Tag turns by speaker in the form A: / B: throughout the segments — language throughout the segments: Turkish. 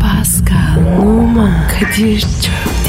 A: Pascal, Oman, Kadir çok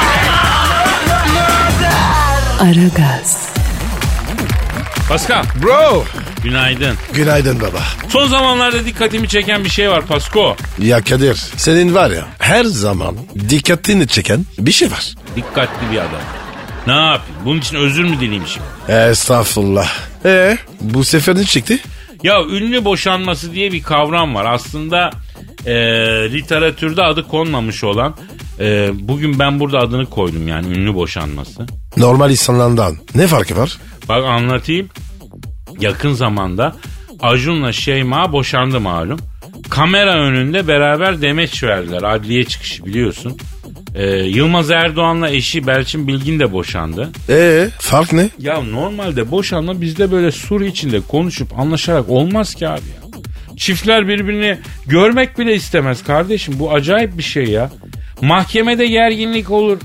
A: Aragaz,
B: Pascal,
C: Bro.
B: günaydın.
C: Günaydın baba.
B: Son zamanlarda dikkatimi çeken bir şey var Pasko.
C: Ya Kadir senin var ya her zaman dikkatini çeken bir şey var.
B: Dikkatli bir adam. Ne yapayım? Bunun için özür mü dileyim şimdi?
C: Estağfurullah. Ee, bu sefer ne çıktı?
B: Ya ünlü boşanması diye bir kavram var. Aslında e, literatürde adı konmamış olan, e, bugün ben burada adını koydum yani ünlü boşanması.
C: Normal insanlardan ne farkı var?
B: Bak anlatayım. Yakın zamanda Acun'la Şeyma boşandı malum. Kamera önünde beraber demeç verdiler adliye çıkışı biliyorsun. Ee, Yılmaz Erdoğan'la eşi Belçin Bilgin de boşandı.
C: Ee, fark ne?
B: Ya normalde boşanma bizde böyle sur içinde konuşup anlaşarak olmaz ki abi ya. Çiftler birbirini görmek bile istemez kardeşim. Bu acayip bir şey ya. Mahkemede gerginlik olur.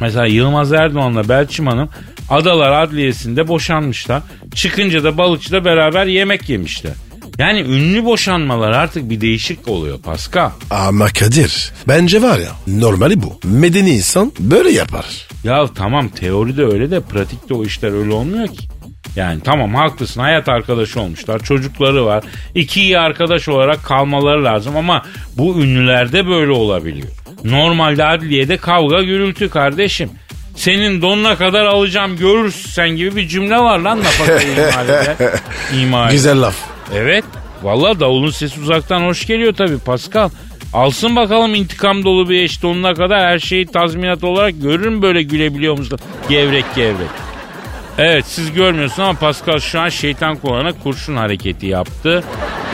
B: Mesela Yılmaz Erdoğan'la Belçim Hanım Adalar Adliyesi'nde boşanmışlar. Çıkınca da balıkçıda beraber yemek yemişler. Yani ünlü boşanmalar artık bir değişik oluyor Pascal.
C: Ama Kadir bence var ya normali bu. Medeni insan böyle yapar.
B: Ya tamam teoride öyle de pratikte o işler öyle olmuyor ki. Yani tamam haklısın hayat arkadaşı olmuşlar çocukları var iki iyi arkadaş olarak kalmaları lazım ama bu ünlülerde böyle olabiliyor. Normalde adliyede kavga gürültü kardeşim. Senin donuna kadar alacağım görürsün sen gibi bir cümle var lan nafaka imalede. İmal.
C: Güzel laf.
B: Evet. Valla davulun sesi uzaktan hoş geliyor tabii Pascal. Alsın bakalım intikam dolu bir eş donuna kadar her şeyi tazminat olarak görürüm böyle gülebiliyor musun? Gevrek gevrek. Evet siz görmüyorsunuz ama Pascal şu an şeytan kulağına kurşun hareketi yaptı.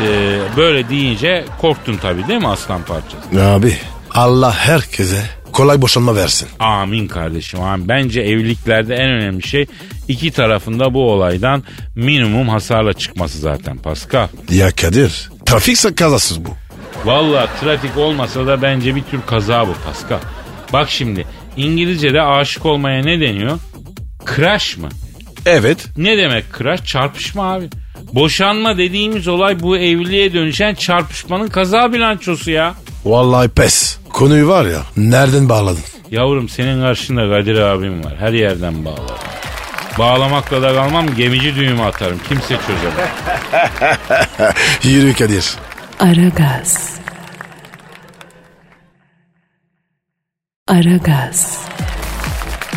B: Ee, böyle deyince korktun tabii değil mi aslan parçası?
C: Abi Allah herkese kolay boşanma versin.
B: Amin kardeşim amin. Bence evliliklerde en önemli şey iki tarafında bu olaydan minimum hasarla çıkması zaten Pascal.
C: Ya Kadir trafik kazasız bu.
B: Valla trafik olmasa da bence bir tür kaza bu Pascal. Bak şimdi İngilizce'de aşık olmaya ne deniyor? Crash mı?
C: Evet.
B: Ne demek crash? Çarpışma abi. Boşanma dediğimiz olay bu evliliğe dönüşen çarpışmanın kaza bilançosu ya.
C: Vallahi pes. Konuyu var ya nereden bağladın?
B: Yavrum senin karşında Kadir abim var. Her yerden bağlar. Bağlamakla da kalmam gemici düğümü atarım. Kimse çözemez.
C: Yürü Kadir.
A: Aragaz. Aragaz,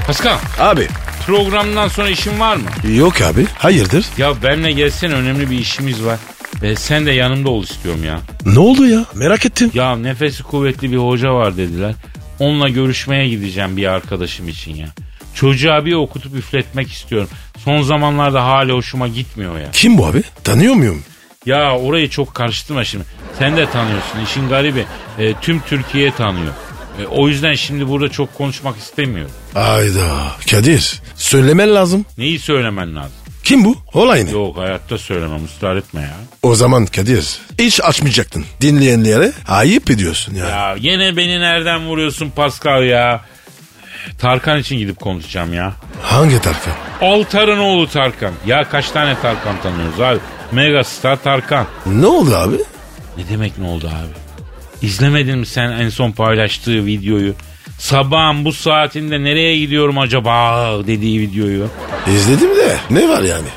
B: Pascal
C: Abi.
B: programdan sonra işin var mı?
C: Yok abi. Hayırdır?
B: Ya benle gelsen önemli bir işimiz var. Ve sen de yanımda ol istiyorum ya.
C: Ne oldu ya? Merak ettim.
B: Ya nefesi kuvvetli bir hoca var dediler. Onunla görüşmeye gideceğim bir arkadaşım için ya. Çocuğa bir okutup üfletmek istiyorum. Son zamanlarda hali hoşuma gitmiyor ya.
C: Kim bu abi? Tanıyor muyum?
B: Ya orayı çok karıştırma şimdi. Sen de tanıyorsun. İşin garibi e, tüm Türkiye tanıyor. E, o yüzden şimdi burada çok konuşmak istemiyorum.
C: Ayda. Kadir. Söylemen lazım.
B: Neyi söylemen lazım?
C: Kim bu? Olay ne?
B: Yok hayatta söylemem ısrar etme ya.
C: O zaman Kadir. Hiç açmayacaktın. Dinleyenlere ayıp ediyorsun ya.
B: Ya yine beni nereden vuruyorsun Pascal ya? Tarkan için gidip konuşacağım ya.
C: Hangi tarafa?
B: Altar'ın oğlu Tarkan. Ya kaç tane Tarkan tanıyoruz abi? Megastar Tarkan.
C: Ne oldu abi?
B: Ne demek ne oldu abi? İzlemedin mi sen en son paylaştığı videoyu? Sabahın bu saatinde nereye gidiyorum acaba dediği videoyu.
C: İzledim de. Ne var yani?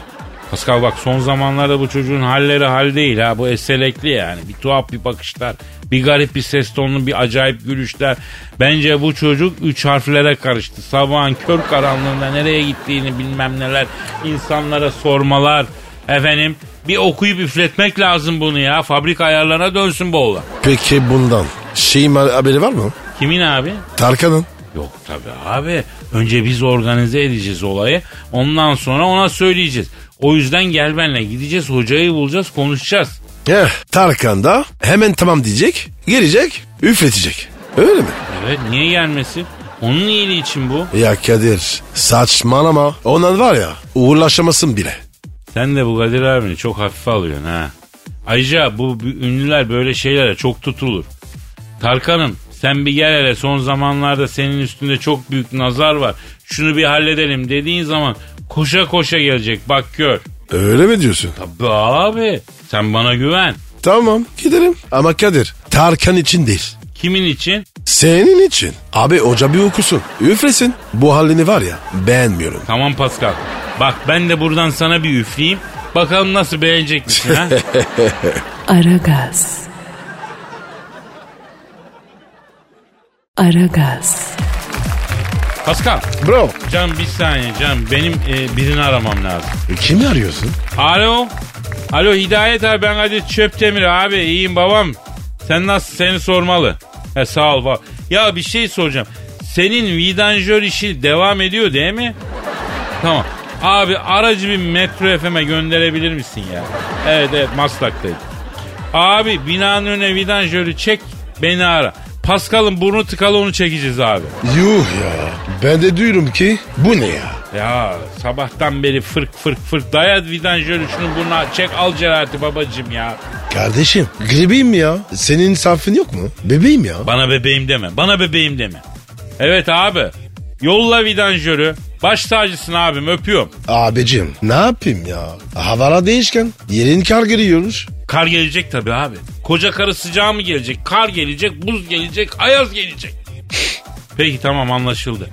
B: Pascal bak son zamanlarda bu çocuğun halleri hal değil ha. Bu eselekli yani. Bir tuhaf bir bakışlar, bir garip bir ses tonu, bir acayip gülüşler. Bence bu çocuk üç harflere karıştı. Sabahın kör karanlığında nereye gittiğini bilmem neler, insanlara sormalar. Efendim bir okuyup üfletmek lazım bunu ya. Fabrika ayarlarına dönsün bu oğlan.
C: Peki bundan. Şeyin haberi var mı?
B: Kimin abi?
C: Tarkan'ın.
B: Yok tabii abi. Önce biz organize edeceğiz olayı. Ondan sonra ona söyleyeceğiz. O yüzden gel benle gideceğiz. Hocayı bulacağız konuşacağız.
C: Eh, Heh, Tarkan da hemen tamam diyecek. Gelecek. Üfletecek. Öyle mi?
B: Evet niye yenmesin? Onun iyiliği için bu.
C: Ya Kadir saçmalama. Ondan var ya uğurlaşamasın bile.
B: Sen de bu Kadir abini çok hafife alıyorsun ha. Ayrıca bu b- ünlüler böyle şeylere çok tutulur. Tarkan'ım sen bir gel hele son zamanlarda senin üstünde çok büyük nazar var. Şunu bir halledelim dediğin zaman koşa koşa gelecek bak gör.
C: Öyle mi diyorsun?
B: Tabii abi sen bana güven.
C: Tamam gidelim. Ama Kadir Tarkan için değil.
B: Kimin için?
C: Senin için. Abi hoca bir okusun. Üflesin. Bu halini var ya beğenmiyorum.
B: Tamam Pascal. Bak ben de buradan sana bir üfleyeyim. Bakalım nasıl beğenecek misin ha?
A: Aragaz. Aragaz.
B: Pascal.
C: Bro.
B: Can bir saniye can. Benim e, birini aramam lazım.
C: Kimi arıyorsun?
B: Alo. Alo Hidayet abi ben Kadir Çöptemir abi iyiyim babam. Sen nasıl seni sormalı. He sağ ol bak. Ya bir şey soracağım. Senin vidanjör işi devam ediyor değil mi? Tamam. Abi aracı bir Metro FM'e gönderebilir misin ya? Evet evet Maslak'tayım. Abi binanın önüne vidanjörü çek beni ara. Pascal'ın burnu tıkalı onu çekeceğiz abi.
C: Yuh ya. Ben de diyorum ki bu ne ya?
B: Ya sabahtan beri fırk fırk fırk dayat vidanjörü şunu burnuna çek al cerahati babacım ya.
C: Kardeşim gribim ya. Senin insafın yok mu? Bebeğim ya.
B: Bana bebeğim deme. Bana bebeğim deme. Evet abi. Yolla vidanjörü. Baş tacısın abim öpüyorum.
C: Abicim ne yapayım ya? Havalar değişken yerin kar giriyormuş.
B: Kar gelecek tabii abi. Koca karı sıcağı mı gelecek? Kar gelecek, buz gelecek, ayaz gelecek. Peki tamam anlaşıldı.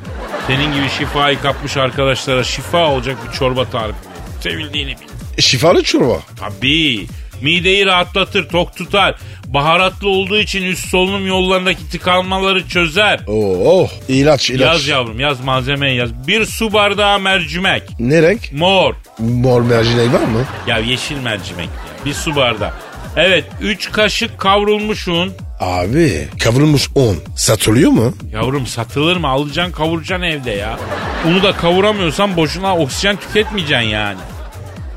B: Senin gibi şifayı kapmış arkadaşlara şifa olacak bir çorba tarifi. Sevildiğini bil.
C: Şifalı çorba.
B: Tabii. Mideyi rahatlatır, tok tutar. Baharatlı olduğu için üst solunum yollarındaki tıkanmaları çözer.
C: Oh, oh. ilaç ilaç.
B: Yaz yavrum yaz malzemeyi yaz. Bir su bardağı mercimek.
C: Ne renk?
B: Mor.
C: Mor mercimek var mı?
B: Ya yeşil mercimek. ya. Bir su bardağı. Evet 3 kaşık kavrulmuş un.
C: Abi kavrulmuş un satılıyor mu?
B: Yavrum satılır mı? Alacaksın kavuracaksın evde ya. Unu da kavuramıyorsan boşuna oksijen tüketmeyeceksin yani.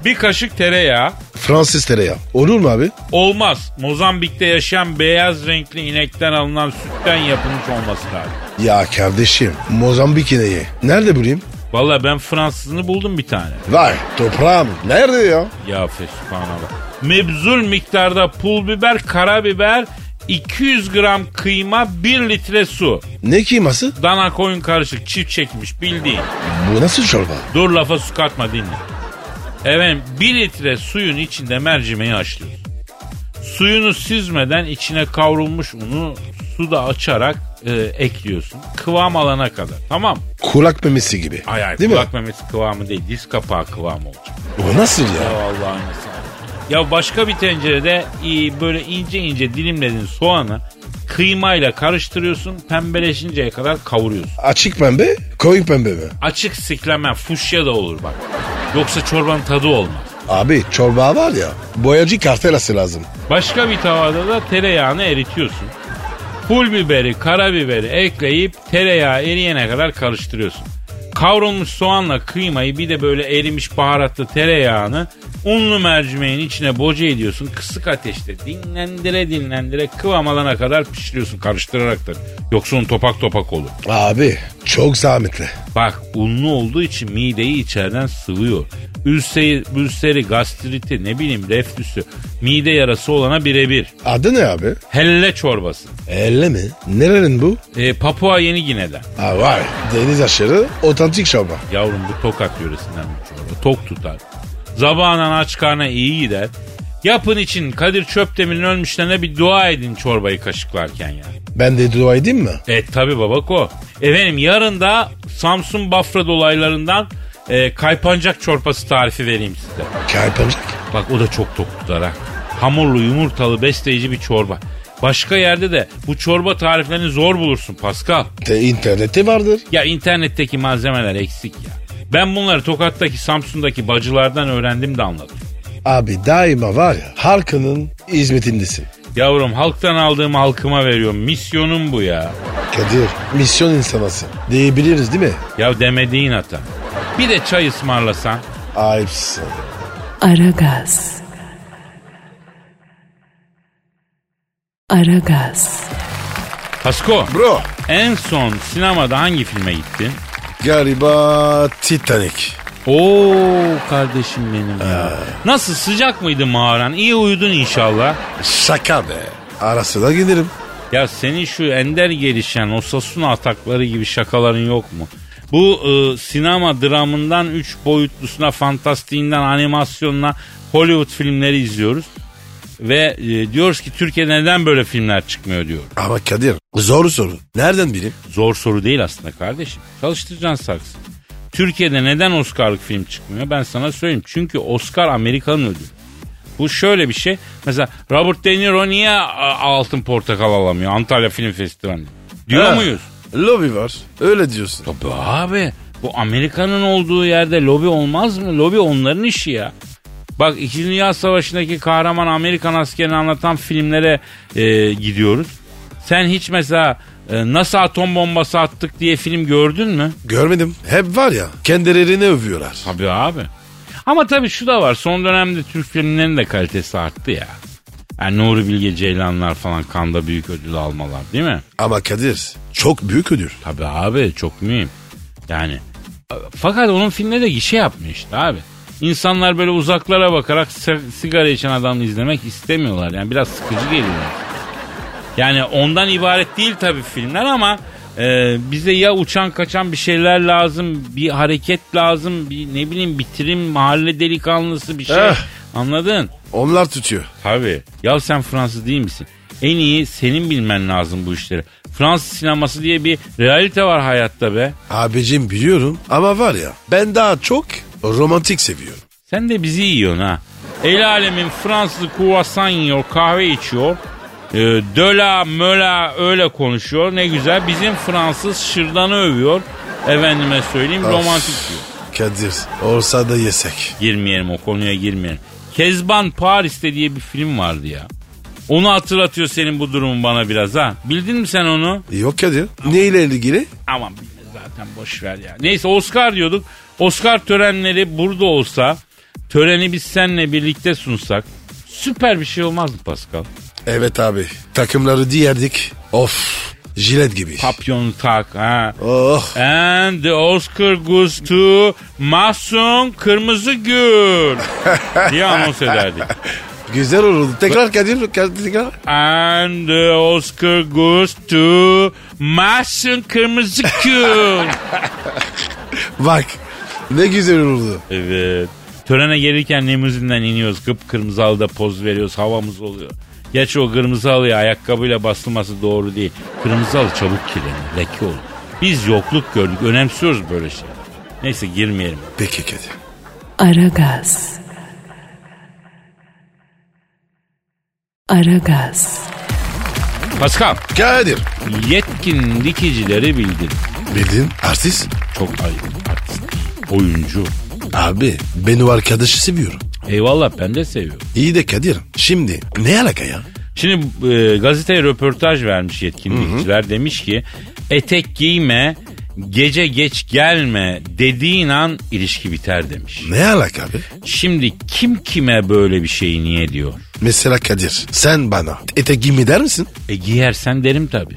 B: Bir kaşık tereyağı.
C: Fransız tereyağı. Olur mu abi?
B: Olmaz. Mozambik'te yaşayan beyaz renkli inekten alınan sütten yapılmış olması lazım.
C: Ya kardeşim Mozambik ineği. Nerede bulayım?
B: Valla ben Fransızını buldum bir tane.
C: Vay toprağım. Nerede ya?
B: Ya fesubhanallah. Mebzul miktarda pul biber, karabiber, 200 gram kıyma, 1 litre su.
C: Ne kıyması?
B: Dana koyun karışık çift çekmiş bildiğin.
C: Bu nasıl çorba?
B: Dur lafa su katma dinle. Efendim 1 litre suyun içinde mercimeği açlıyoruz. Suyunu süzmeden içine kavrulmuş unu suda açarak e, ekliyorsun. Kıvam alana kadar tamam mı?
C: Kulak memesi gibi.
B: Ay ay
C: Değil
B: kulak
C: mi?
B: memesi kıvamı değil diz kapağı kıvamı olacak.
C: O nasıl
B: Ya
C: ya?
B: Allah'ın sağlığı. Ya başka bir tencerede e, böyle ince ince dilimledin soğanı kıymayla karıştırıyorsun pembeleşinceye kadar kavuruyorsun.
C: Açık pembe, koyu pembe mi?
B: Açık siklemen fuşya da olur bak. Yoksa çorbanın tadı olmaz.
C: Abi çorba var ya, boyacı kartelası lazım.
B: Başka bir tavada da tereyağını eritiyorsun. Pul biberi, karabiberi ekleyip tereyağı eriyene kadar karıştırıyorsun. Kavrulmuş soğanla kıymayı bir de böyle erimiş baharatlı tereyağını unlu mercimeğin içine boca ediyorsun. Kısık ateşte dinlendire dinlendire kıvam alana kadar pişiriyorsun karıştırarak da. Yoksa un topak topak olur.
C: Abi çok zahmetli.
B: Bak unlu olduğu için mideyi içeriden sıvıyor. Ülseri, ülseri gastriti ne bileyim reflüsü mide yarası olana birebir.
C: Adı ne abi?
B: Helle çorbası.
C: Elle mi? Nerenin bu?
B: Ee, Papua Yeni Gine'den.
C: Ha var. Deniz aşırı otantik çorba.
B: Yavrum bu Tokat yöresinden bir çorba. Tok tutar. Zabağından aç karna iyi gider. Yapın için Kadir Çöpdemir'in ölmüşlerine bir dua edin çorbayı kaşıklarken yani.
C: Ben de dua edeyim mi?
B: E tabi babak o. Efendim yarın da Samsun Bafra dolaylarından e, kaypancak çorpası tarifi vereyim size.
C: Kaypancak.
B: Bak o da çok tok tutar ha. Hamurlu yumurtalı besleyici bir çorba. Başka yerde de bu çorba tariflerini zor bulursun Pascal.
C: De internette vardır.
B: Ya internetteki malzemeler eksik ya. Ben bunları Tokat'taki Samsun'daki bacılardan öğrendim de anladım.
C: Abi daima var ya halkının hizmetindesin.
B: Yavrum halktan aldığımı halkıma veriyorum. Misyonum bu ya.
C: Kadir misyon insanası diyebiliriz değil mi?
B: Ya demediğin hata. Bir de çay ısmarlasan.
C: Ayıpsın.
A: Aragaz. Aragaz.
B: Pasko.
C: Bro.
B: En son sinemada hangi filme gittin?
C: Galiba Titanic.
B: Oo kardeşim benim ya. Nasıl sıcak mıydı mağaran? İyi uyudun inşallah.
C: Şaka be. Arasına giderim.
B: Ya senin şu ender gelişen Osasuna atakları gibi şakaların yok mu? Bu e, sinema dramından 3 boyutlusuna, fantastiğinden animasyonuna Hollywood filmleri izliyoruz. Ve e, diyoruz ki Türkiye neden böyle filmler çıkmıyor diyor.
C: Ama Kadir zor soru. Nereden bileyim?
B: Zor soru değil aslında kardeşim. Çalıştıracaksın saksı. Türkiye'de neden Oscar'lık film çıkmıyor? Ben sana söyleyeyim. Çünkü Oscar Amerika'nın ödülü. Bu şöyle bir şey. Mesela Robert De Niro niye a- altın portakal alamıyor Antalya Film Festivali? Diyor
C: Ha,
B: muyuz?
C: Lobi var. Öyle diyorsun.
B: Tabii abi. Bu Amerika'nın olduğu yerde lobi olmaz mı? Lobi onların işi ya. Bak İkinci Dünya Savaşı'ndaki kahraman Amerikan askerini anlatan filmlere e, gidiyoruz. Sen hiç mesela e, nasıl atom bombası attık diye film gördün mü?
C: Görmedim. Hep var ya kendilerini övüyorlar.
B: Tabii abi. Ama tabii şu da var. Son dönemde Türk filmlerinin de kalitesi arttı ya. Yani Nuri Bilge Ceylanlar falan kanda büyük ödül almalar değil mi?
C: Ama Kadir çok büyük ödül.
B: Tabii abi çok mühim. Yani fakat onun filmde de gişe yapmıştı abi. İnsanlar böyle uzaklara bakarak si- sigara içen adamı izlemek istemiyorlar. Yani biraz sıkıcı geliyor. Yani ondan ibaret değil tabii filmler ama e, bize ya uçan kaçan bir şeyler lazım, bir hareket lazım, bir ne bileyim bitirim, mahalle delikanlısı bir şey.
C: Eh.
B: Anladın?
C: Onlar tutuyor.
B: Tabii. Ya sen Fransız değil misin? En iyi senin bilmen lazım bu işleri. Fransız sineması diye bir realite var hayatta be.
C: Abicim biliyorum ama var ya ben daha çok romantik seviyorum.
B: Sen de bizi yiyorsun ha. El alemin Fransız kuvasan yiyor, kahve içiyor. Ee, döla möla öyle konuşuyor. Ne güzel. Bizim Fransız şırdanı övüyor. Efendime söyleyeyim romantik diyor.
C: Kadir olsa da yesek.
B: Girmeyelim o konuya girmeyelim. Kezban Paris'te diye bir film vardı ya. Onu hatırlatıyor senin bu durumun bana biraz ha. Bildin mi sen onu?
C: Yok Kadir. Neyle ilgili?
B: Aman bilmez zaten boş ver ya. Neyse Oscar diyorduk. Oscar törenleri burada olsa töreni biz seninle birlikte sunsak süper bir şey olmaz mı Pascal?
C: Evet abi. Takımları diyerdik. Of. Jilet gibi.
B: Papyonu tak ha.
C: Oh.
B: And the Oscar goes to Mahsun Kırmızı Gül diye anons ederdik.
C: Güzel olurdu. Tekrar Kadir. Kadir tekrar.
B: And the Oscar goes to Mahsun Kırmızı Gül.
C: Bak. Ne güzel olurdu.
B: Evet. Törene gelirken limuzinden iniyoruz. Kıpkırmızı halıda poz veriyoruz. Havamız oluyor. Gerçi o kırmızı halıya ayakkabıyla basılması doğru değil. Kırmızı halı çabuk kirlenir. Leke olur. Biz yokluk gördük. Önemsiyoruz böyle şeyler. Neyse girmeyelim.
C: Peki Kadir.
A: Aragaz. Aragaz.
B: Paskal.
C: Kadir.
B: Yetkin dikicileri bildir.
C: Bildin. Artist.
B: Çok ayıp. Artist değil, Oyuncu.
C: Abi ben o arkadaşı seviyorum.
B: Eyvallah ben de seviyorum.
C: İyi de Kadir. Şimdi ne alaka ya?
B: Şimdi e, gazeteye röportaj vermiş yetkinlikçiler. Demiş ki etek giyme, gece geç gelme dediğin an ilişki biter demiş.
C: Ne alaka abi?
B: Şimdi kim kime böyle bir şeyi niye diyor?
C: Mesela Kadir sen bana ete giyme der misin?
B: E giyersen derim tabii.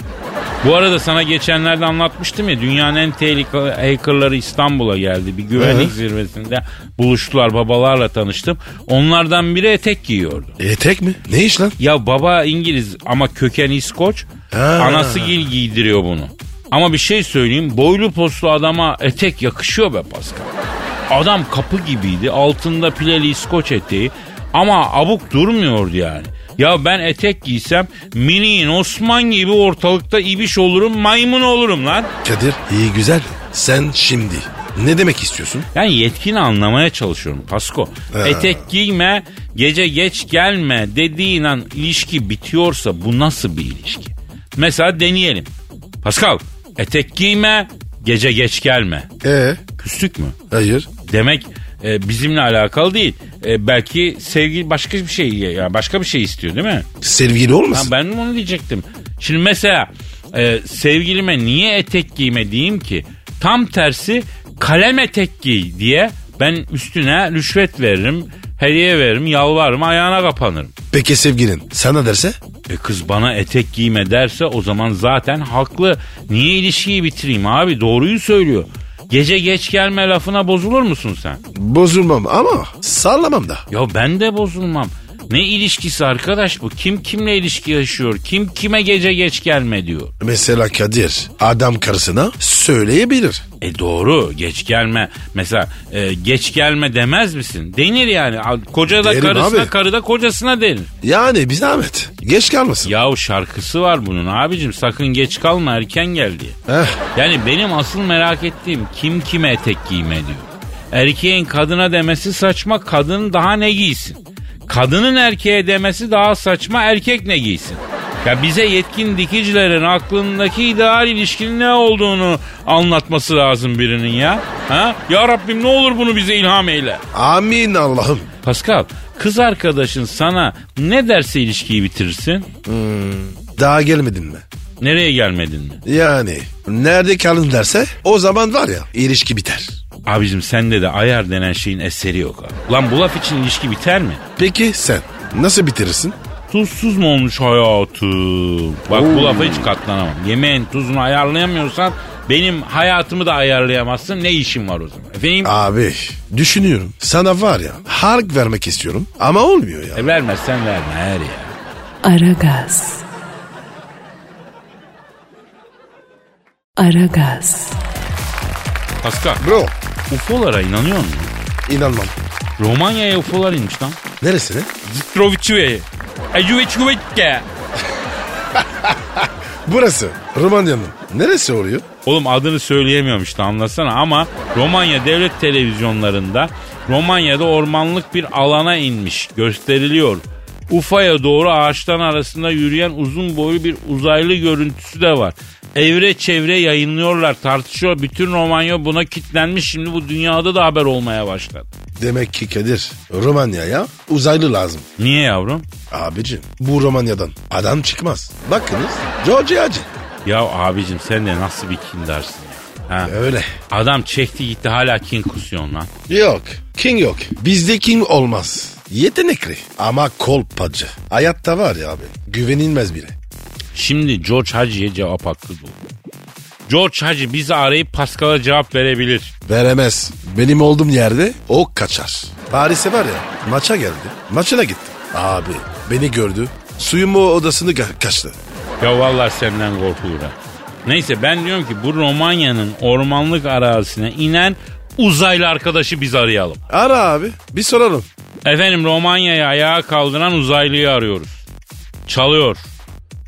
B: Bu arada sana geçenlerde anlatmıştım ya dünyanın en tehlikeli hackerları İstanbul'a geldi. Bir güvenlik zirvesinde buluştular babalarla tanıştım. Onlardan biri etek giyiyordu.
C: Etek E, mi? Ne iş lan?
B: Ya baba İngiliz ama köken İskoç.
C: Ha.
B: Anası gil giydiriyor bunu. Ama bir şey söyleyeyim. Boylu poslu adama etek yakışıyor be Pascal. Adam kapı gibiydi. Altında pileli İskoç eteği. Ama abuk durmuyordu yani. Ya ben etek giysem miniğin Osman gibi ortalıkta ibiş olurum maymun olurum lan.
C: Kadir iyi güzel. Sen şimdi ne demek istiyorsun?
B: Yani yetkini anlamaya çalışıyorum Pasko. Etek giyme, gece geç gelme dediğin an ilişki bitiyorsa bu nasıl bir ilişki? Mesela deneyelim. Pascal, etek giyme, gece geç gelme.
C: Ee?
B: Küslük mü?
C: Hayır.
B: Demek e, bizimle alakalı değil. E, belki sevgi başka bir şey, yani başka bir şey istiyor değil mi?
C: Sevgili
B: Ha,
C: olmasın?
B: ben de onu diyecektim. Şimdi mesela e, sevgilime niye etek giyme diyeyim ki? Tam tersi kalem etek giy diye ben üstüne rüşvet veririm, hediye veririm, yalvarırım, ayağına kapanırım.
C: Peki sevgilin sana derse?
B: E kız bana etek giyme derse o zaman zaten haklı. Niye ilişkiyi bitireyim abi? Doğruyu söylüyor. Gece geç gelme lafına bozulur musun sen?
C: Bozulmam ama sallamam da.
B: Ya ben de bozulmam. Ne ilişkisi arkadaş bu? Kim kimle ilişki yaşıyor? Kim kime gece geç gelme diyor.
C: Mesela Kadir adam karısına söyleyebilir.
B: E doğru geç gelme mesela e, geç gelme demez misin? Denir yani Al- koca da
C: Derim
B: karısına
C: abi.
B: karı da kocasına denir.
C: Yani bir zahmet. Geç kalmasın.
B: Yahu şarkısı var bunun abicim sakın geç kalma erken gel diye.
C: Eh,
B: Yani benim asıl merak ettiğim kim kime etek giyme diyor. Erkeğin kadına demesi saçma kadın daha ne giysin? Kadının erkeğe demesi daha saçma erkek ne giysin? Ya bize yetkin dikicilerin aklındaki ideal ilişkinin ne olduğunu anlatması lazım birinin ya. Ha? Ya Rabbim ne olur bunu bize ilham eyle.
C: amin Allah'ım.
B: Pascal kız arkadaşın sana ne derse ilişkiyi bitirirsin?
C: Daha gelmedin mi?
B: Nereye gelmedin mi?
C: Yani nerede kalın derse o zaman var ya ilişki biter.
B: Abicim sende de ayar denen şeyin eseri yok abi. Lan bu laf için ilişki biter mi?
C: Peki sen nasıl bitirirsin?
B: Tuzsuz mu olmuş hayatım? Bak bu lafa hiç katlanamam. Yemeğin tuzunu ayarlayamıyorsan benim hayatımı da ayarlayamazsın. Ne işim var o zaman? Efendim?
C: Abi düşünüyorum sana var ya hark vermek istiyorum ama olmuyor ya.
B: E, vermezsen verme her ya.
A: Aragaz. Aragaz.
B: Pascal,
C: Bro
B: UFO'lara inanıyor musun?
C: inanmam.
B: Romanya'ya UFO'lar inmiş lan.
C: Neresine?
B: Zitrovicüye. Ejuveçüveçke.
C: Burası Romanya'nın. Neresi oluyor?
B: Oğlum adını söyleyemiyorum işte anlasana ama Romanya devlet televizyonlarında Romanya'da ormanlık bir alana inmiş gösteriliyor. Ufaya doğru ağaçtan arasında yürüyen uzun boylu bir uzaylı görüntüsü de var. Evre çevre yayınlıyorlar tartışıyor. Bütün Romanya buna kitlenmiş şimdi bu dünyada da haber olmaya başladı.
C: Demek ki Kadir Romanya'ya uzaylı lazım.
B: Niye yavrum?
C: Abicim bu Romanya'dan adam çıkmaz. Bakınız Georgia'cı.
B: Ya abicim sen de nasıl bir kindarsın ya. Ha?
C: Öyle.
B: Adam çekti gitti hala kin kusuyorsun lan.
C: Yok. King yok. Bizde King olmaz. Yetenekli ama kolpacı. Hayatta var ya abi. Güvenilmez bile.
B: Şimdi George Hacı'ya cevap hakkı doğdu. George Hacı bizi arayıp Pascal'a cevap verebilir.
C: Veremez. Benim olduğum yerde o kaçar. Paris'e var ya maça geldi. Maçına gitti. Abi beni gördü. Suyumu odasını ka- kaçtı.
B: Ya vallahi senden korkulur ha. Neyse ben diyorum ki bu Romanya'nın ormanlık arazisine inen uzaylı arkadaşı biz arayalım.
C: Ara abi bir soralım.
B: Efendim Romanya'yı ayağa kaldıran uzaylıyı arıyoruz. Çalıyor.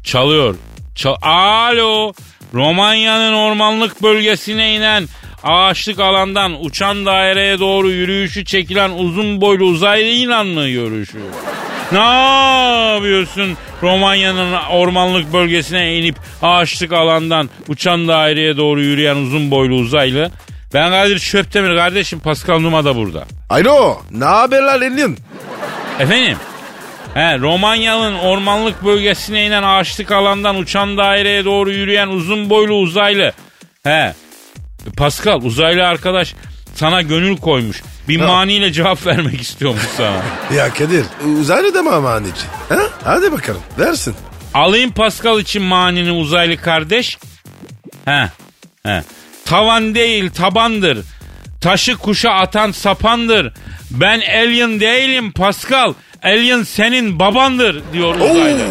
B: Çalıyor. Çal Alo. Romanya'nın ormanlık bölgesine inen ağaçlık alandan uçan daireye doğru yürüyüşü çekilen uzun boylu uzaylı ilanla görüşüyor. Ne yapıyorsun Romanya'nın ormanlık bölgesine inip ağaçlık alandan uçan daireye doğru yürüyen uzun boylu uzaylı? Ben Kadir Çöptemir kardeşim Pascal Numa da burada.
C: Alo ne haberler elin?
B: Efendim? He, Romanyalı'nın ormanlık bölgesine inen ağaçlık alandan uçan daireye doğru yürüyen uzun boylu uzaylı. He. E, Pascal uzaylı arkadaş sana gönül koymuş. Bir maniyle cevap vermek istiyormuş sana.
C: Ya Kadir uzaylı da mı amaneci? Ha? Hadi bakalım versin.
B: Alayım Pascal için manini uzaylı kardeş. He. He. Tavan değil tabandır. Taşı kuşa atan sapandır. Ben alien değilim Pascal. Alien senin babandır diyor uzaylı.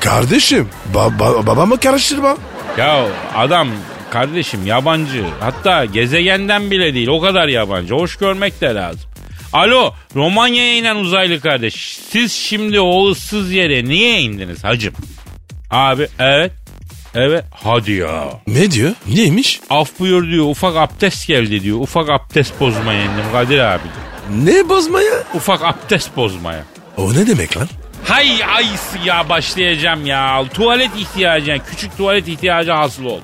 C: Kardeşim ba- ba- babamı karıştırma.
B: Ya adam kardeşim yabancı. Hatta gezegenden bile değil. O kadar yabancı. Hoş görmek de lazım. Alo Romanya'ya inen uzaylı kardeş. Siz şimdi o ıssız yere niye indiniz hacım? Abi evet. Evet hadi ya.
C: Ne diyor? Neymiş?
B: Af buyur diyor ufak abdest geldi diyor. Ufak abdest bozmaya indim Kadir abi diyor.
C: Ne bozmaya?
B: Ufak abdest bozmaya.
C: O ne demek lan?
B: Hay ayısı ya başlayacağım ya. Tuvalet ihtiyacı küçük tuvalet ihtiyacı hasıl oldu.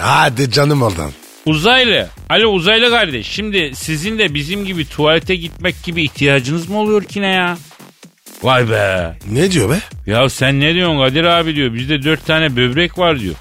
C: Hadi canım oradan.
B: Uzaylı. Alo uzaylı kardeş. Şimdi sizin de bizim gibi tuvalete gitmek gibi ihtiyacınız mı oluyor ki ne ya? Vay be.
C: Ne diyor be?
B: Ya sen ne diyorsun Kadir abi diyor. Bizde dört tane böbrek var diyor.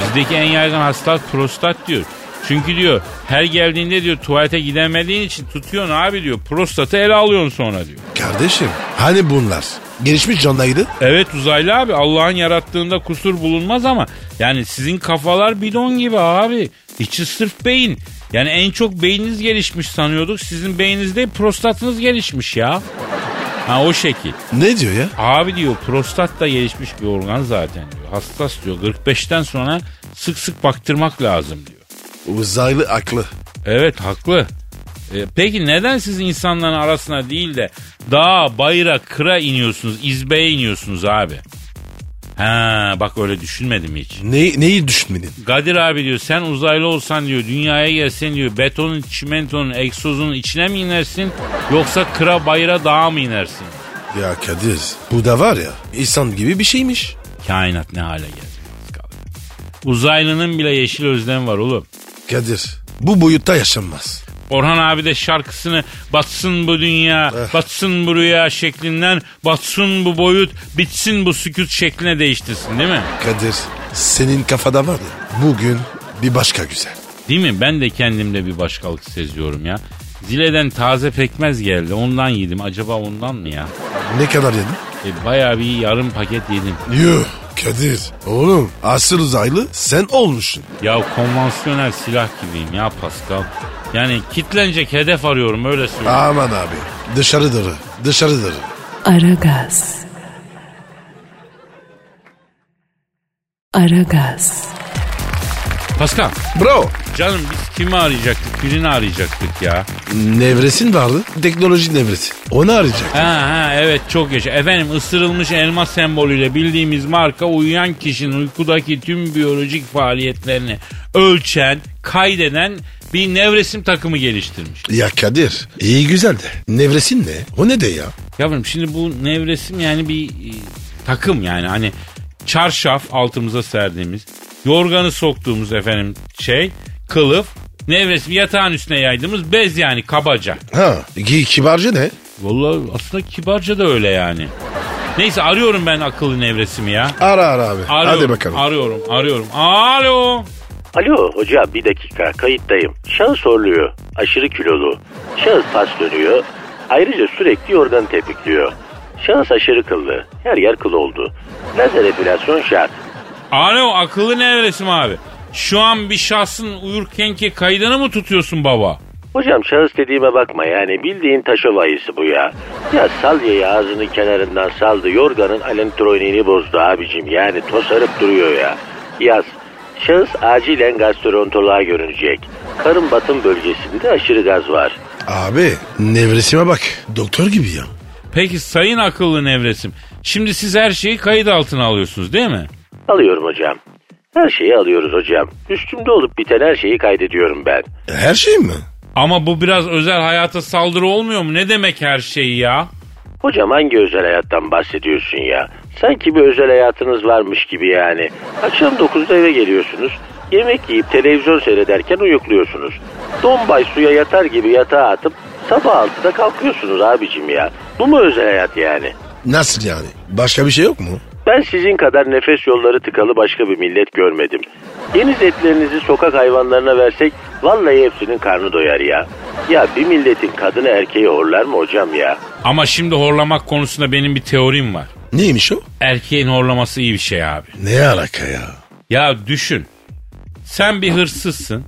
B: Bizdeki en yaygın hastalık prostat diyor. Çünkü diyor her geldiğinde diyor tuvalete gidemediğin için tutuyorsun abi diyor. Prostatı ele alıyorsun sonra diyor.
C: Kardeşim hani bunlar Gelişmiş candaydı.
B: Evet uzaylı abi Allah'ın yarattığında kusur bulunmaz ama yani sizin kafalar bidon gibi abi. İçi sırf beyin. Yani en çok beyniniz gelişmiş sanıyorduk. Sizin beyniniz değil prostatınız gelişmiş ya. Ha o şekil.
C: Ne diyor ya?
B: Abi diyor prostat da gelişmiş bir organ zaten diyor. Hassas diyor. 45'ten sonra sık sık baktırmak lazım diyor.
C: Uzaylı aklı.
B: Evet haklı. E, peki neden siz insanların arasına değil de dağa, bayıra, kıra iniyorsunuz, izbeye iniyorsunuz abi? Ha bak öyle düşünmedim hiç.
C: Ne, neyi düşünmenin?
B: Kadir abi diyor sen uzaylı olsan diyor dünyaya gelsen diyor betonun, çimentonun, egzozunun içine mi inersin yoksa kıra, bayıra, dağa mı inersin?
C: Ya Kadir bu da var ya insan gibi bir şeymiş.
B: Kainat ne hale geldi. Pascal? Uzaylının bile yeşil özlem var oğlum.
C: Kadir bu boyutta yaşanmaz.
B: Orhan abi de şarkısını batsın bu dünya,
C: Eh.
B: batsın bu rüya şeklinden, batsın bu boyut, bitsin bu sükut şekline değiştirsin değil mi?
C: Kadir senin kafada var ya bugün bir başka güzel.
B: Değil mi? Ben de kendimde bir başkalık seziyorum ya. Zile'den taze pekmez geldi. Ondan yedim. Acaba ondan mı ya?
C: Ne kadar yedin?
B: E, bayağı bir yarım paket yedim.
C: Yuh Kadir oğlum asıl uzaylı sen olmuşsun.
B: Ya konvansiyonel silah gibiyim ya Pascal. Yani kitlenecek hedef arıyorum öyle söyleyeyim.
C: Aman abi dışarıdır dışarıdır.
A: Aragaz. Aragaz.
B: Pascal
C: Bro
B: canım biz kimi arayacaktık? Birini arayacaktık ya.
C: nevresin vardı teknoloji nevresi onu arayacak.
B: Ha ha evet çok yaşa. Efendim ısırılmış elma sembolüyle bildiğimiz marka uyuyan kişinin uykudaki tüm biyolojik faaliyetlerini ölçen, kaydeden bir nevresim takımı geliştirmiş.
C: Ya Kadir iyi güzel de nevresin ne o ne de ya?
B: Yavrum şimdi bu nevresim yani bir e, takım yani hani çarşaf altımıza serdiğimiz, yorganı soktuğumuz efendim şey, kılıf, nevresim yatağın üstüne yaydığımız bez yani kabaca.
C: Ha ki- kibarca ne?
B: Vallahi aslında kibarca da öyle yani. Neyse arıyorum ben akıllı nevresimi ya.
C: Ara ara abi
B: Arıyorum,
C: hadi bakalım.
B: Arıyorum, arıyorum. Alo.
D: Alo hocam bir dakika kayıttayım. Şahıs soruluyor. Aşırı kilolu. Şahıs pas dönüyor. Ayrıca sürekli yorganı tepikliyor. Şahıs aşırı kıllı. Her yer kıl oldu. Lazer epilasyon şart.
B: Alo, akıllı nevresim abi. Şu an bir şahsın uyurkenki kaydını mı tutuyorsun baba?
D: Hocam şahıs dediğime bakma yani bildiğin taş olayısı bu ya. Ya salyayı ağzının kenarından saldı yorganın alentroniğini bozdu abicim yani tosarıp duruyor ya. Yaz. Şahıs acilen gastroenteroloğa görünecek. Karın batın bölgesinde aşırı gaz var.
C: Abi nevresime bak doktor gibi ya.
B: Peki sayın akıllı nevresim. Şimdi siz her şeyi kayıt altına alıyorsunuz değil mi?
D: Alıyorum hocam. Her şeyi alıyoruz hocam. Üstümde olup biten her şeyi kaydediyorum ben.
C: Her şey mi?
B: Ama bu biraz özel hayata saldırı olmuyor mu? Ne demek her şeyi ya?
D: Hocam hangi özel hayattan bahsediyorsun ya? Sanki bir özel hayatınız varmış gibi yani. Akşam 9'da eve geliyorsunuz. Yemek yiyip televizyon seyrederken uyukluyorsunuz. Dombay suya yatar gibi yatağa atıp sabah 6'da kalkıyorsunuz abicim ya. Bu mu özel hayat yani?
C: Nasıl yani? Başka bir şey yok mu?
D: Ben sizin kadar nefes yolları tıkalı başka bir millet görmedim. Deniz etlerinizi sokak hayvanlarına versek vallahi hepsinin karnı doyar ya. Ya bir milletin kadını erkeği horlar mı hocam ya?
B: Ama şimdi horlamak konusunda benim bir teorim var.
C: Neymiş o?
B: Erkeğin horlaması iyi bir şey abi.
C: Ne alaka ya?
B: Ya düşün. Sen bir hırsızsın.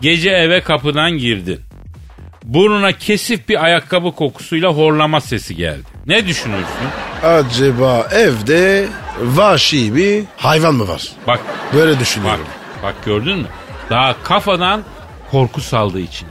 B: Gece eve kapıdan girdin. Burnuna kesif bir ayakkabı kokusuyla horlama sesi geldi. Ne düşünürsün?
C: Acaba evde vahşi bir hayvan mı var?
B: Bak,
C: Böyle
B: bak,
C: düşünüyorum.
B: bak gördün mü? Daha kafadan korku saldığı için.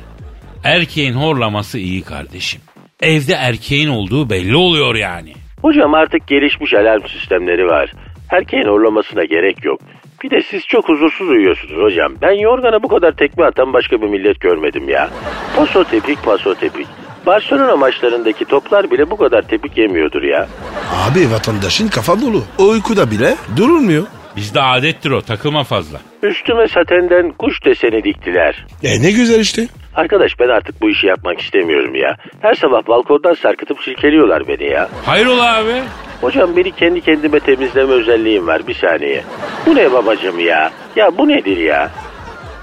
B: Erkeğin horlaması iyi kardeşim. Evde erkeğin olduğu belli oluyor yani.
D: Hocam artık gelişmiş alarm sistemleri var. Erkeğin horlamasına gerek yok. Bir de siz çok huzursuz uyuyorsunuz hocam. Ben yorgana bu kadar tekme atan başka bir millet görmedim ya. Paso tepik paso tepik. Barcelona maçlarındaki toplar bile bu kadar tepik yemiyordur ya.
C: Abi vatandaşın kafa dolu. Uykuda bile durulmuyor.
B: Bizde adettir o takılma fazla.
D: Üstüme satenden kuş deseni diktiler.
C: E ne güzel işte.
D: Arkadaş ben artık bu işi yapmak istemiyorum ya. Her sabah balkondan sarkıtıp silkeliyorlar beni ya.
B: Hayrola abi?
D: Hocam beni kendi kendime temizleme özelliğim var bir saniye. Bu ne babacım ya? Ya bu nedir ya?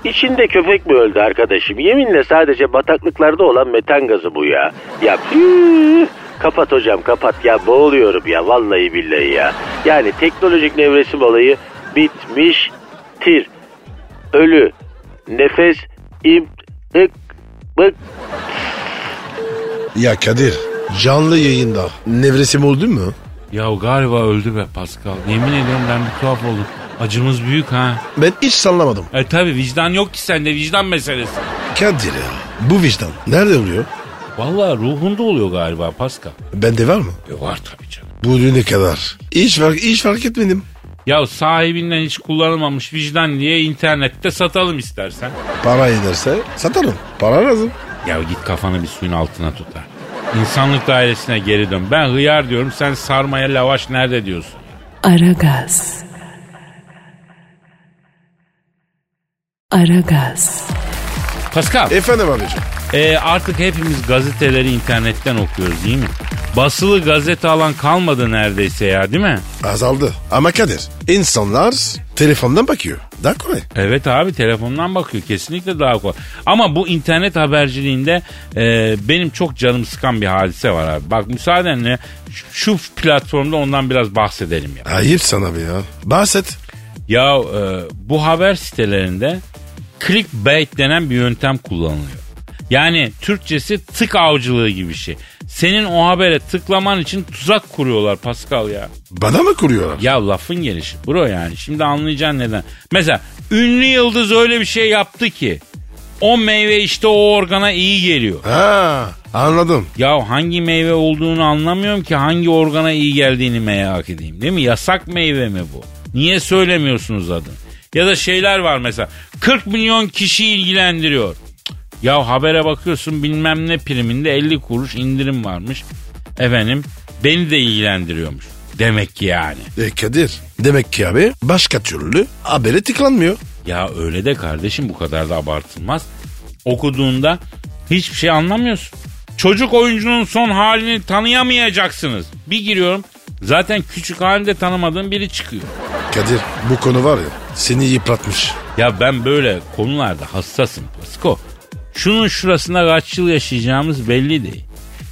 D: İçinde köpek mi öldü arkadaşım? Yeminle sadece bataklıklarda olan metan gazı bu ya. Ya püh! Kapat hocam kapat ya boğuluyorum ya vallahi billahi ya. Yani teknolojik nevresim olayı bitmiştir. Ölü. Nefes im tık bık.
C: Ya Kadir canlı yayında nevresim oldun mu?
B: Ya galiba öldü be Pascal. Yemin ediyorum ben bir tuhaf oldum. Acımız büyük ha.
C: Ben hiç sallamadım.
B: E tabi vicdan yok ki sende vicdan meselesi.
C: Kadir ya bu vicdan nerede oluyor?
B: Vallahi ruhunda oluyor galiba Pascal.
C: Bende var mı?
B: E var tabii canım.
C: Bu ne kadar? Hiç fark, hiç fark etmedim.
B: Ya sahibinden hiç kullanılmamış vicdan diye internette satalım istersen.
C: Para ederse satarım. Para lazım.
B: Ya git kafanı bir suyun altına tut ha. İnsanlık dairesine geri dön. Ben hıyar diyorum sen sarmaya lavaş nerede diyorsun.
A: Aragaz. Aragaz.
B: Pascal
C: Efendim abicim.
B: e, artık hepimiz gazeteleri internetten okuyoruz değil mi? Basılı gazete alan kalmadı neredeyse ya değil mi?
C: Azaldı. Ama Kadir insanlar telefondan bakıyor. Daha kolay.
B: Evet abi telefondan bakıyor kesinlikle daha kolay. Ama bu internet haberciliğinde e, benim çok canım sıkan bir hadise var abi. Bak müsaadenle şu, şu platformda ondan biraz bahsedelim ya.
C: Ayıp sana be ya. Bahset.
B: Ya e, bu haber sitelerinde clickbait denen bir yöntem kullanılıyor. Yani Türkçesi tık avcılığı gibi bir şey. Senin o habere tıklaman için tuzak kuruyorlar Pascal ya.
C: Bana mı kuruyorlar?
B: Ya lafın gelişi bro yani. Şimdi anlayacaksın neden. Mesela ünlü yıldız öyle bir şey yaptı ki. O meyve işte o organa iyi geliyor.
C: Ha anladım.
B: Ya hangi meyve olduğunu anlamıyorum ki hangi organa iyi geldiğini merak edeyim. Değil mi? Yasak meyve mi bu? Niye söylemiyorsunuz adını? Ya da şeyler var mesela. 40 milyon kişi ilgilendiriyor. Cık. Ya habere bakıyorsun bilmem ne priminde 50 kuruş indirim varmış. Efendim beni de ilgilendiriyormuş. Demek ki yani.
C: E Kadir demek ki abi başka türlü habere tıklanmıyor.
B: Ya öyle de kardeşim bu kadar da abartılmaz. Okuduğunda hiçbir şey anlamıyorsun. Çocuk oyuncunun son halini tanıyamayacaksınız. Bir giriyorum. Zaten küçük halimde tanımadığım biri çıkıyor.
C: Kadir bu konu var ya seni yıpratmış.
B: Ya ben böyle konularda hassasım Pasko. Şunun şurasında kaç yıl yaşayacağımız belli değil.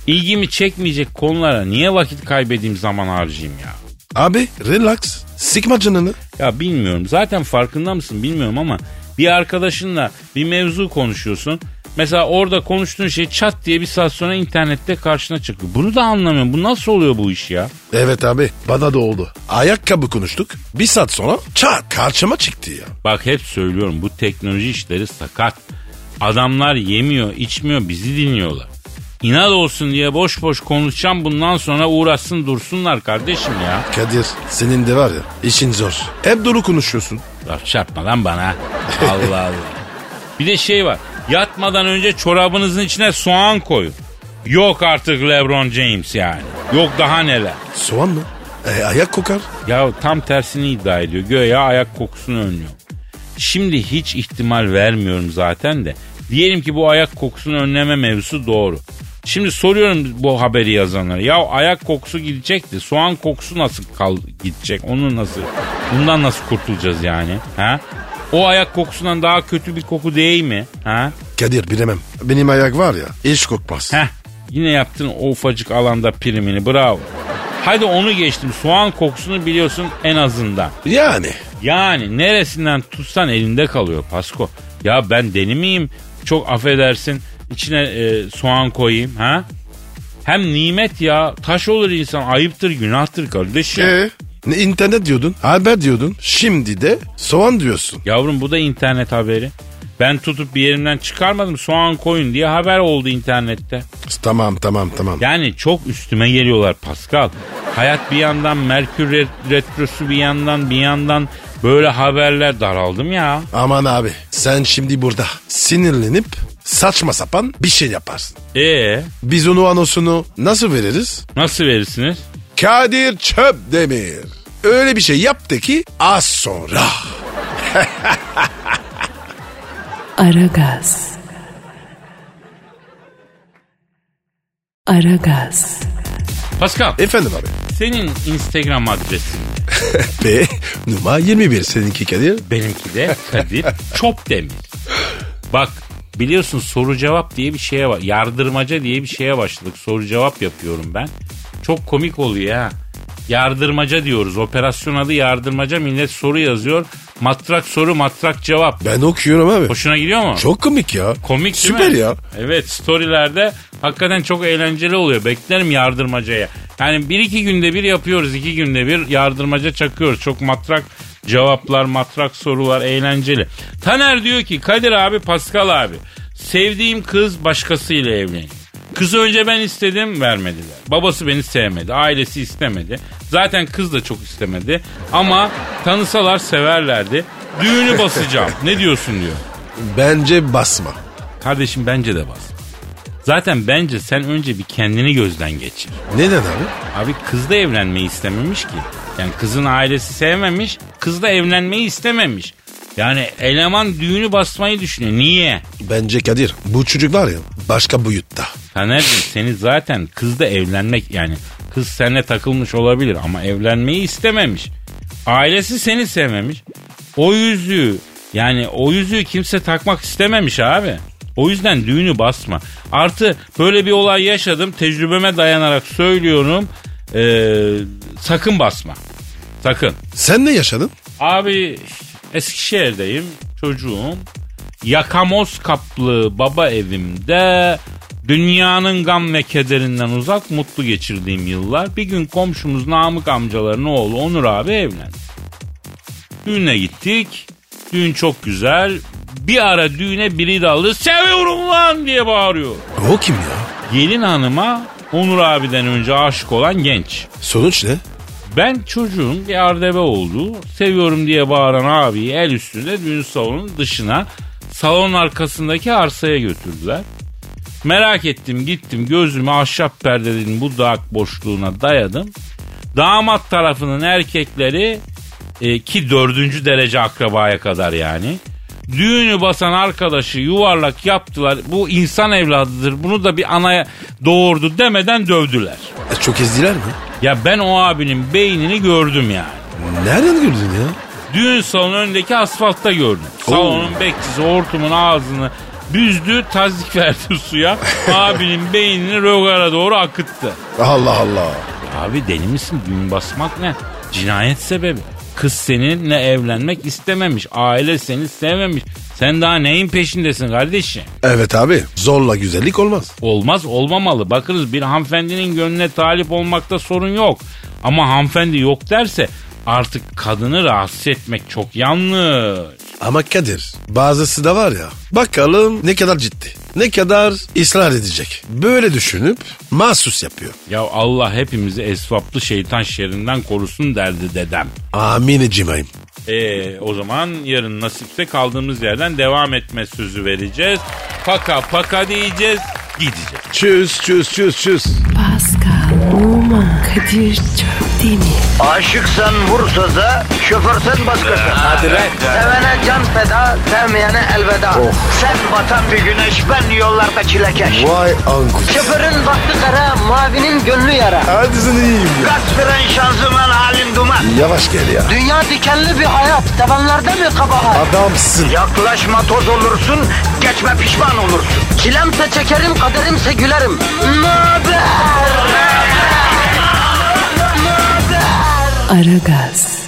B: İlgimi çekmeyecek konulara niye vakit kaybedeyim zaman harcayayım ya?
C: Abi relax sıkma canını.
B: Ya bilmiyorum. Zaten farkında mısın bilmiyorum ama bir arkadaşınla bir mevzu konuşuyorsun. Mesela orada konuştuğun şey çat diye bir saat sonra internette karşına çıkıyor. Bunu da anlamıyorum. Bu nasıl oluyor bu iş ya?
C: Evet abi bana da oldu. Ayakkabı konuştuk bir saat sonra çat karşıma çıktı ya.
B: Bak hep söylüyorum bu teknoloji işleri sakat. Adamlar yemiyor, içmiyor, bizi dinliyorlar. İnat olsun diye boş boş konuşacağım bundan sonra uğraşsın dursunlar kardeşim ya.
C: Kadir senin de var ya işin zor. Hep dolu konuşuyorsun.
B: Laf çarpma lan bana. Allah Allah. Bir de şey var. Yatmadan önce çorabınızın içine soğan koyun. Yok artık Lebron James yani. Yok daha neler.
C: Soğan mı? E, ayak kokar.
B: Ya tam tersini iddia ediyor. Göya ayak kokusunu önlüyor. Şimdi hiç ihtimal vermiyorum zaten de. Diyelim ki bu ayak kokusunu önleme mevzusu doğru. Şimdi soruyorum bu haberi yazanlara. Ya ayak kokusu gidecekti. Soğan kokusu nasıl kal gidecek? Onu nasıl? Bundan nasıl kurtulacağız yani? Ha? O ayak kokusundan daha kötü bir koku değil mi? Ha?
C: Kadir bilemem. Benim ayak var ya hiç kokmaz.
B: Heh. Yine yaptın o ufacık alanda primini. Bravo. Hadi onu geçtim. Soğan kokusunu biliyorsun en azından.
C: Yani
B: Yani neresinden tutsan elinde kalıyor Pasko. Ya ben deli miyim? Çok affedersin içine e, soğan koyayım ha? Hem nimet ya taş olur insan ayıptır günahtır kardeşim.
C: e, ne internet diyordun haber diyordun şimdi de soğan diyorsun.
B: Yavrum bu da internet haberi. Ben tutup bir yerimden çıkarmadım soğan koyun diye haber oldu internette.
C: Tamam tamam tamam.
B: Yani çok üstüme geliyorlar Pascal. Hayat bir yandan Merkür ret- retrosu bir yandan bir yandan böyle haberler daraldım ya.
C: Aman abi sen şimdi burada sinirlenip saçma sapan bir şey yaparsın.
B: E
C: Biz onu anonsunu nasıl veririz?
B: nasıl verirsiniz?
C: Kadir Çöpdemir. Öyle bir şey yaptı ki az sonra.
A: Aragaz. Aragaz.
B: Pascal
C: Efendim abi.
B: senin Instagram adresin
C: Ve numara 21 seninki Kadir.
B: benimki de Kadir Çopdemir. Bak Biliyorsun soru cevap diye bir şeye var. Yardırmaca diye bir şeye başladık. Soru cevap yapıyorum ben. Çok komik oluyor ha. Yardırmaca diyoruz. Operasyon adı yardırmaca. Millet soru yazıyor. Matrak soru matrak cevap.
C: Ben okuyorum abi.
B: Hoşuna gidiyor mu?
C: Çok komik ya.
B: Komik değil
C: Süper
B: mi?
C: ya.
B: Evet storylerde hakikaten çok eğlenceli oluyor. Beklerim yardırmacaya. Yani bir iki günde bir yapıyoruz. iki günde bir yardırmaca çakıyoruz. Çok matrak cevaplar, matrak sorular eğlenceli. Taner diyor ki Kadir abi, Pascal abi. Sevdiğim kız başkasıyla evleniyor. Kızı önce ben istedim vermediler. Babası beni sevmedi. Ailesi istemedi. Zaten kız da çok istemedi. Ama tanısalar severlerdi. Düğünü basacağım. ne diyorsun diyor.
C: Bence basma.
B: Kardeşim bence de bas. Zaten bence sen önce bir kendini gözden geçir.
C: Neden abi?
B: Abi kız da evlenmeyi istememiş ki. Yani kızın ailesi sevmemiş, kız da evlenmeyi istememiş. Yani eleman düğünü basmayı düşünüyor. Niye?
C: Bence Kadir bu çocuk var ya başka boyutta.
B: Taner'cim seni zaten kızla evlenmek yani kız seninle takılmış olabilir ama evlenmeyi istememiş. Ailesi seni sevmemiş. O yüzüğü yani o yüzüğü kimse takmak istememiş abi. O yüzden düğünü basma. Artı böyle bir olay yaşadım tecrübeme dayanarak söylüyorum. Ee, sakın basma. Sakın.
C: Sen ne yaşadın?
B: Abi Eskişehir'deyim çocuğum. Yakamoz kaplı baba evimde dünyanın gam ve kederinden uzak mutlu geçirdiğim yıllar. Bir gün komşumuz Namık amcaların oğlu Onur abi evlendi. Düğüne gittik. Düğün çok güzel. Bir ara düğüne biri daldı. Seviyorum lan diye bağırıyor.
C: O kim ya?
B: Gelin hanıma Onur abiden önce aşık olan genç.
C: Sonuç ne?
B: Ben çocuğun bir ardebe olduğu, seviyorum diye bağıran abiyi el üstünde düğün salonunun dışına, salonun arkasındaki arsaya götürdüler. Merak ettim gittim gözümü ahşap perdenin bu dağ boşluğuna dayadım. Damat tarafının erkekleri e, ki dördüncü derece akrabaya kadar yani. Düğünü basan arkadaşı yuvarlak yaptılar. Bu insan evladıdır bunu da bir anaya doğurdu demeden dövdüler.
C: E, çok ezdiler mi?
B: Ya ben o abinin beynini gördüm yani.
C: Nereden gördün ya?
B: Düğün salonu önündeki asfaltta gördüm. Salonun bekçisi hortumun ağzını büzdü, tazik verdi suya. abinin beynini rögara doğru akıttı.
C: Allah Allah.
B: Abi deli misin? Düğün basmak ne? Cinayet sebebi. Kız seninle evlenmek istememiş. Aile seni sevmemiş. Sen daha neyin peşindesin kardeşim?
C: Evet abi zorla güzellik olmaz.
B: Olmaz olmamalı. Bakınız bir hanımefendinin gönlüne talip olmakta sorun yok. Ama hanımefendi yok derse artık kadını rahatsız etmek çok yanlış.
C: Ama Kadir bazısı da var ya bakalım ne kadar ciddi. Ne kadar ısrar edecek. Böyle düşünüp mahsus yapıyor.
B: Ya Allah hepimizi esvaplı şeytan şerrinden korusun derdi dedem.
C: Amin cimayim.
B: Ee, o zaman yarın nasipse kaldığımız yerden devam etme sözü vereceğiz. Paka paka diyeceğiz, gideceğiz.
C: Çüz çüz çüz çüz.
A: Pascal, Oman, Kadir çok değil mi?
E: Aşıksan vursa da, şoförsen başkasın. Hadi
C: lan.
E: Sevene can feda, sevmeyene elveda. Sen batan bir güneş, ben yollarda çilekeş.
C: Vay anku.
E: Şoförün baktı kara, mavinin gönlü yara.
C: Hadi sen iyiyim ya.
E: Kasperen şanzıman halin duman.
C: Yavaş gel ya.
E: Dünya dikenli bir hayat, sevenlerde mi kabahar?
C: Adamsın.
E: Yaklaşma toz olursun, geçme pişman olursun. Çilemse çekerim, kaderimse gülerim. Möber!
A: Aragaz.